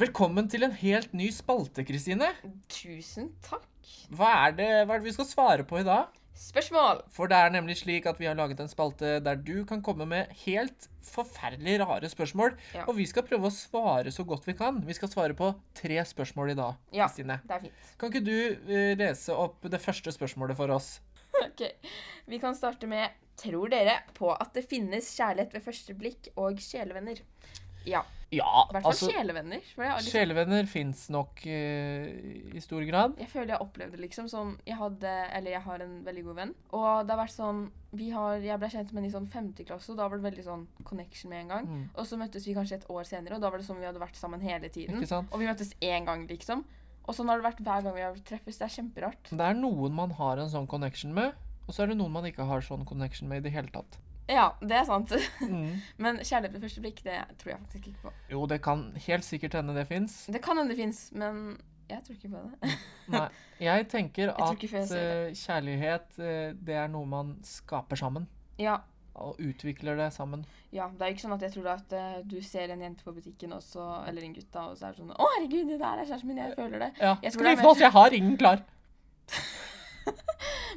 C: Velkommen til en helt ny spalte, Kristine.
B: Tusen takk.
C: Hva er det, hva er det vi skal svare på i dag?
B: spørsmål.
C: For det er nemlig slik at vi har laget en spalte der du kan komme med helt forferdelig rare spørsmål.
B: Ja.
C: Og vi skal prøve å svare så godt vi kan. Vi skal svare på tre spørsmål i dag.
B: Ja.
C: Kristine.
B: Det er fint.
C: Kan ikke du eh, lese opp det første spørsmålet for oss?
B: Ok, Vi kan starte med Tror dere på at det finnes kjærlighet ved første blikk og sjelevenner? Ja.
C: Ja,
B: I hvert fall
C: altså
B: sjelevenner. For jeg, har liksom,
C: Sjelevenner fins nok eh, i stor grad.
B: jeg føler jeg opplevde liksom sånn Jeg hadde, eller jeg har en veldig god venn. Og det har vært sånn vi har, Jeg ble kjent med henne i sånn femte klasse, og da var det veldig sånn connection med en gang.
C: Mm.
B: Og så møttes vi kanskje et år senere, og da var det som vi hadde vært sammen hele tiden.
C: Ikke sant?
B: Og vi møttes én gang, liksom. Og sånn har det vært hver gang vi har treffes. Det er kjemperart.
C: Det er noen man har en sånn connection med, og så er det noen man ikke har sånn connection med i det hele tatt.
B: Ja, det er sant.
C: Mm.
B: Men kjærlighet ved første blikk, det tror jeg faktisk ikke på.
C: Jo, det kan helt sikkert hende det fins.
B: Det kan hende det fins, men jeg tror ikke på det.
C: Nei, jeg tenker
B: tror
C: at
B: ikke før jeg ser
C: eh, kjærlighet eh, det er noe man skaper sammen.
B: Ja,
C: Og utvikler det sammen.
B: ja, det er jo ikke sånn at jeg tror at eh, du ser en jente på butikken, og så- eller en gutt, da, og så er det sånn Å, herregud, det der er kjæresten min, jeg føler det.
C: Ja,
B: Jeg tror
C: skal
B: det
C: vi
B: er
C: få
B: mer-
C: oss? Jeg har ingen klar.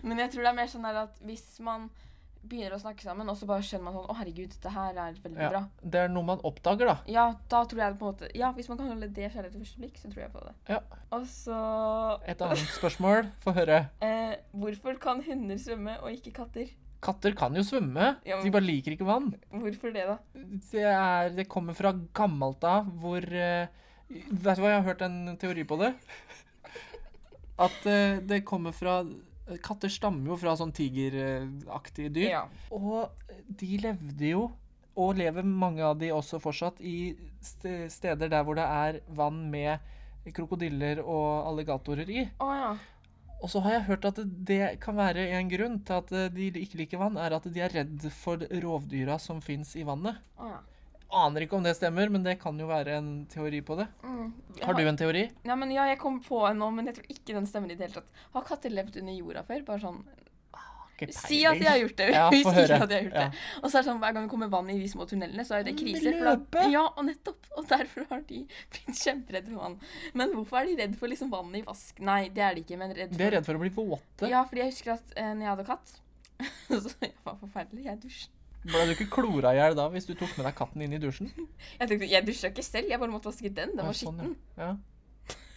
B: Men jeg tror det er mer sånn der at hvis man begynner å snakke sammen, og så bare skjønner man sånn Å, herregud, dette her er veldig
C: Ja,
B: bra.
C: det er noe man oppdager, da.
B: Ja, da tror jeg det på en måte Ja, hvis man kan holde det kjærlighet ved første blikk, så tror jeg på det.
C: Ja.
B: Og så
C: Et annet spørsmål. Få høre.
B: eh, Hvorfor kan hunder svømme og ikke katter?
C: Katter kan jo svømme.
B: Ja, men-
C: De bare liker ikke vann.
B: Hvorfor det, da?
C: Det, er, det kommer fra gammelt av hvor eh, Vet du hva, jeg har hørt en teori på det. At eh, det kommer fra Katter stammer jo fra sånn tigeraktige dyr.
B: Ja.
C: Og de levde jo, og lever mange av de også fortsatt, i st- steder der hvor det er vann med krokodiller og alligatorer i.
B: Å ja.
C: Og så har jeg hørt at det kan være en grunn til at eh, de ikke liker vann, er at de er redd for rovdyra som fins i vannet.
B: Å, ja.
C: Aner ikke om det stemmer, men det kan jo være en teori på det.
B: Mm.
C: Har du en teori?
B: Ja, men ja, jeg kom på en nå, men jeg tror ikke den stemmer i det hele tatt. Har katter levd under jorda før? Bare sånn
C: Ikke
B: Si at jeg har gjort det!
C: Ja,
B: Hvis
C: få
B: ikke
C: høre.
B: at jeg har gjort
C: Ja.
B: det. Og så er det sånn, hver gang det kommer vann i de små tunnelene, så er jo det
C: Ja, men
B: krise. For da,
C: løpe!
B: ja, og nettopp. Og derfor har de blitt kjemperedde for vann. Men hvorfor er de redd for liksom vannet i vask? Nei, det er de ikke, men redd
C: De er redd for å bli våte.
B: Ja, fordi jeg husker at eh, når jeg hadde katt, så jeg var forferdelig. Jeg dusja.
C: Ble du ikke klora i hjel da hvis du tok med deg katten inn i dusjen?
B: Jeg, tenkte, jeg dusja ikke selv, jeg bare måtte vaske den. Den
C: Ja,
B: var
C: sånn,
B: skitten.
C: ja.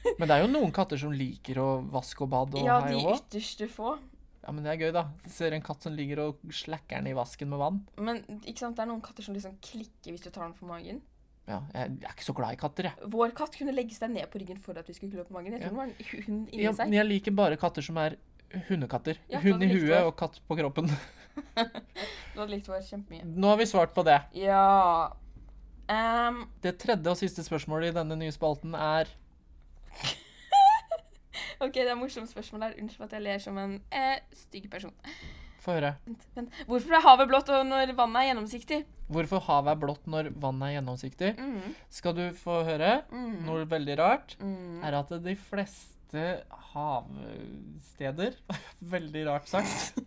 C: Ja. Men det er jo noen katter som liker å vaske og bade og
B: Ja,
C: hei
B: de
C: og hå.
B: ytterste få.
C: Ja, men det er gøy, da. Ser en katt som ligger og slakker den i vasken med vann.
B: Men ikke sant, det er noen katter som liksom klikker hvis du tar den på magen.
C: Ja, jeg er ikke så glad i katter, jeg.
B: Vår katt kunne legge seg ned på ryggen for at vi skulle klø på magen. Jeg
C: Ja.
B: tror den var en hund inni
C: Ja, men
B: seg.
C: jeg liker bare katter som er hundekatter.
B: Ja, da
C: Hund i
B: hadde du likt
C: huet
B: vår.
C: og katt på kroppen.
B: Du hadde likt vår kjempemye.
C: Nå har vi svart på det.
B: Ja Ehm,
C: Det tredje og siste spørsmålet i denne nye spalten er
B: OK, det er morsomt spørsmål her. Unnskyld at jeg ler som en eh, stygg person.
C: Få høre.
B: Vent, vent. Hvorfor er havet blått og når vannet er gjennomsiktig?
C: Hvorfor havet er blått når vannet er gjennomsiktig?
B: Mm,
C: Skal du få høre
B: mm,
C: noe veldig rart?
B: mm.
C: Er at de fleste havsteder Veldig rart sagt.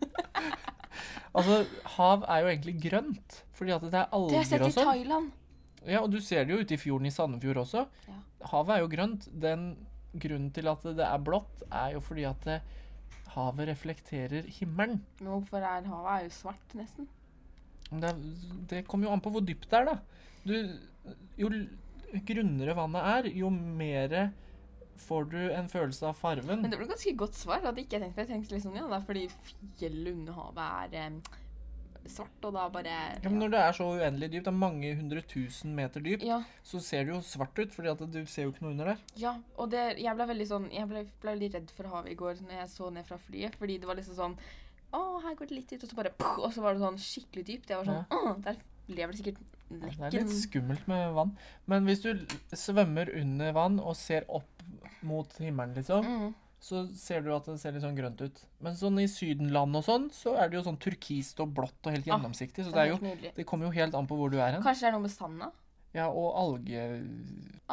C: altså, hav er jo egentlig grønt. Fordi at det er
B: Det har jeg
C: alger
B: sett
C: og
B: i
C: sånn.
B: Thailand.
C: Ja, og du ser det jo ute i fjorden i Sandefjord også.
B: Ja.
C: Havet er jo grønt. Den grunnen til at det er blått, er jo fordi at det, havet reflekterer himmelen.
B: Men hvorfor er havet er jo svart, nesten?
C: Men Det, er, det kommer jo an på hvor dypt det er, da. Du, jo l- grunnere vannet er, jo mer får du en følelse av farven.
B: Men det ble et ganske godt svar. hadde ikke jeg tenkt på. Jeg tenkte liksom, ja, det er fordi fjellet under havet er eh, svart, og da bare
C: Ja, men når det er så uendelig dypt, det er mange hundre tusen meter dypt,
B: ja.
C: så ser det jo svart ut, fordi at du ser jo ikke noe under der.
B: Ja, og det, jeg ble veldig sånn Jeg ble, ble litt redd for havet i går når jeg så ned fra flyet, fordi det var liksom sånn Å, her går det litt ut, og så bare puff, Og så var det sånn skikkelig dypt. Jeg var sånn «Åh, Der lever det sikkert
C: Det er
B: nekken.
C: litt skummelt med vann. Men hvis du l- svømmer under vann og ser opp mot himmelen, liksom,
B: Mm.
C: så ser du at det ser litt sånn grønt ut. Men sånn i Sydenland og sånn, så er det jo sånn turkist og blått og helt
B: Ah,
C: gjennomsiktig. Så
B: Det
C: det
B: er
C: er
B: helt
C: jo
B: nydelig.
C: Det kommer jo helt an på hvor du er hen.
B: Kanskje det er noe med sanda?
C: Ja, og alge...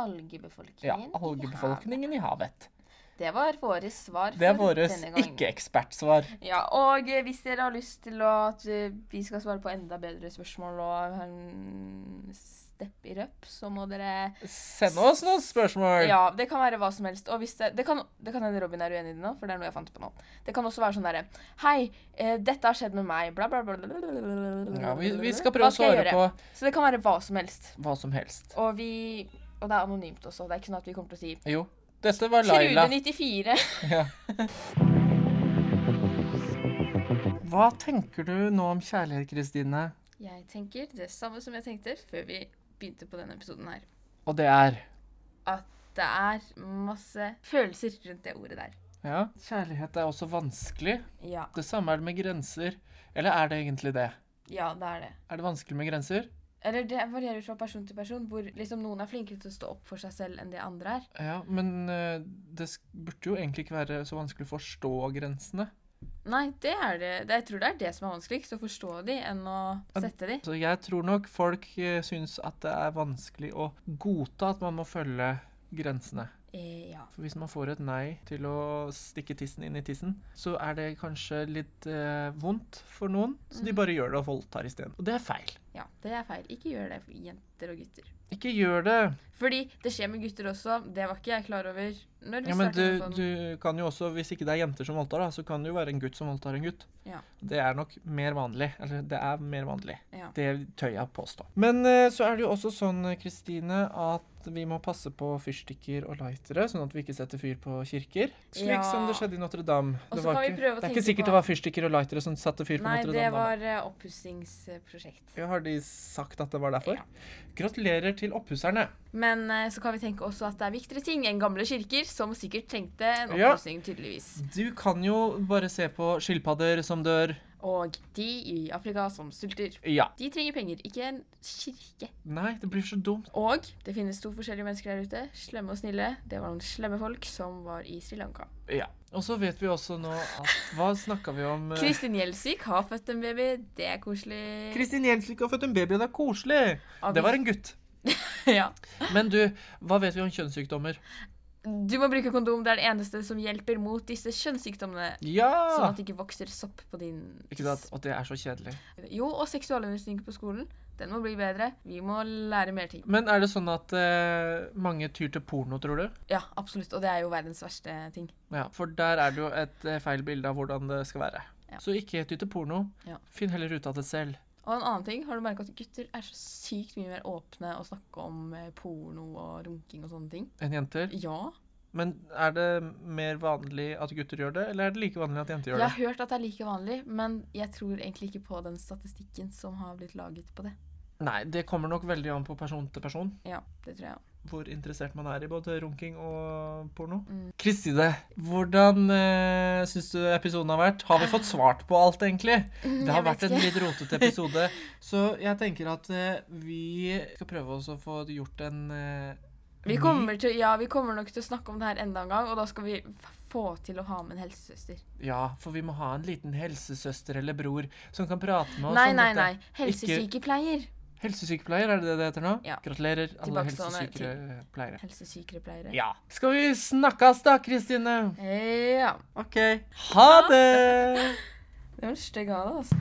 B: Algebefolkningen?
C: Ja,
B: i
C: algebefolkningen i havet.
B: havet. Det var våre svar
C: Det er
B: for
C: vårt
B: denne gangen.
C: ikke-ekspertsvar.
B: Ja, og eh, hvis dere har lyst til å, at eh, vi skal svare på enda bedre spørsmål og eh, depp i røp, så må dere
C: Send oss noen spørsmål.
B: Ja, det kan være hva som helst. Og hvis det, det, kan, det kan hende Robin er uenig i det nå, for det er noe jeg fant på nå. Det kan også være sånn derre Hei, eh, dette har skjedd med meg, bla, bla, bla, bla, bla, bla, bla.
C: Ja, vi, vi skal
B: Hva
C: prøve å
B: jeg
C: svare
B: gjøre?
C: på
B: Så det kan være hva som helst.
C: hva som helst.
B: Og vi Og det er anonymt også. Det er ikke sånn at vi kommer til å si
C: Jo, dette var Laila.
B: Trude94.
C: Ja. Hva tenker du nå om kjærlighet, Kristine?
B: Jeg tenker det samme som jeg tenkte før vi begynte på denne episoden her.
C: Og det er
B: At det er masse følelser rundt det ordet der.
C: Ja, kjærlighet er også vanskelig.
B: Ja.
C: Det samme er det med grenser. Eller er det egentlig det?
B: Ja, det er det.
C: Er det vanskelig med grenser?
B: Eller det varierer fra person til person, hvor liksom noen er flinkere til å stå opp for seg selv enn det andre er.
C: Ja, men eh, det sk- burde jo egentlig ikke være så vanskelig å forstå grensene.
B: Nei, det er det. det jeg tror det er det som er vanskeligst, å forstå de enn å
C: Ja.
B: sette de.
C: Så jeg tror nok folk eh, syns at det er vanskelig å godta at man må følge grensene.
B: Eh, ja.
C: For hvis man får et nei til å stikke tissen inn i tissen, så er det kanskje litt eh, vondt for noen, så de bare gjør det og voldtar isteden. Og det er feil.
B: ja. Det er feil. Ikke gjør det, jenter og gutter.
C: Ikke gjør det.
B: Fordi det skjer med gutter også. Det var ikke jeg klar over. Når vi
C: Ja, men
B: startet
C: du,
B: med sånn. podden.
C: du kan jo også, hvis ikke det er jenter som voldtar, da, så kan det jo være en gutt som voldtar en gutt.
B: Ja.
C: Det er nok mer vanlig. Eller det er mer vanlig.
B: Ja.
C: Det tør jeg påstå. Men eh, så er det jo også sånn, eh, Kristine, at vi må passe på fyrstikker og lightere, sånn at vi ikke setter fyr på kirker. Slik
B: Ja.
C: som det skjedde i Notre-Dame.
B: Og
C: Det
B: så
C: var
B: kan vi
C: ikke-
B: prøve å
C: Det er
B: tenke
C: ikke sikkert
B: på-
C: det var fyrstikker og lightere som satte fyr på
B: Nei, det
C: Notre-Dame. da.
B: var eh, oppussingsprosjekt.
C: Ja, har de sagt at det var derfor?
B: Ja.
C: Gratulerer til oppusserne.
B: Men eh, så kan vi tenke også at det er viktigere ting enn gamle kirker, som sikkert trengte en
C: Ja.
B: oppussing, tydeligvis.
C: Du kan jo bare se på skilpadder som dør.
B: Og de i Afrika som sulter.
C: Ja.
B: De trenger penger, ikke en kirke.
C: Nei, det blir så dumt.
B: Og det finnes to forskjellige mennesker der ute. Slemme og snille. Det var noen slemme folk som var i Sri Lanka.
C: Ja. Og så vet vi også nå at Hva snakka vi om? eh,
B: Kristin Gjelsvik har født en baby. Det er koselig.
C: Kristin Gjelsvik har født en baby, det er koselig!
B: Av-
C: Det var en gutt.
B: ja.
C: Men du, hva vet vi om kjønnssykdommer?
B: Du må bruke kondom. Det er det eneste som hjelper mot disse kjønnssykdommene. Sånn
C: Ja!
B: at det ikke vokser sopp på din
C: Ikke sant? Og det er så kjedelig.
B: Jo, og seksualundervisning på skolen. Den må bli bedre. Vi må lære mer ting.
C: Men er det sånn at eh, mange tyr til porno, tror du?
B: Ja, absolutt. Og det er jo verdens verste ting.
C: Ja, For der er det jo et eh, feil bilde av hvordan det skal være.
B: Ja.
C: Så ikke ty til porno.
B: Ja.
C: Finn heller ut av det selv.
B: Og en annen ting, har du merka at gutter er så sykt mye mer åpne å snakke om eh, porno og runking og sånne ting?
C: enn jenter.
B: Ja.
C: Men er det mer vanlig at gutter gjør det, eller er det like vanlig at jenter gjør
B: Jeg
C: det?
B: har hørt at det er like vanlig, men jeg tror egentlig ikke på den statistikken som har blitt laget på det.
C: Nei, det kommer nok veldig an på person til person.
B: Ja, det tror jeg også.
C: Hvor interessert man er i både runking og porno.
B: Mm.
C: Kristine, hvordan uh, syns du episoden har vært? Har vi fått svart på alt, egentlig? Det har
B: Mm, jeg vet
C: vært en
B: ikke.
C: litt rotete episode. Så jeg tenker at eh, vi skal prøve oss å få gjort en eh,
B: Vi
C: ny-
B: kommer, til, ja, vi kommer nok til å snakke om det her enda en gang, og da skal vi f- få til å ha med en helsesøster.
C: Ja, for vi må ha en liten helsesøster eller bror som kan prate med oss
B: Nei,
C: om
B: nei,
C: dette.
B: nei. Helsesykepleier.
C: Helsesykepleier, er det det det heter nå?
B: Ja.
C: Gratulerer, alle
B: Tilbakestående
C: helsesykepleiere.
B: Helsesykepleiere.
C: Ja. Skal vi snakkes da, Kristine?
B: Ja.
C: OK. Ha det!
B: Det var en stygg av deg, altså.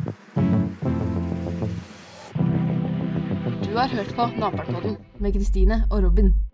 B: Du har hørt på Napernpodden med Kristine og Robin.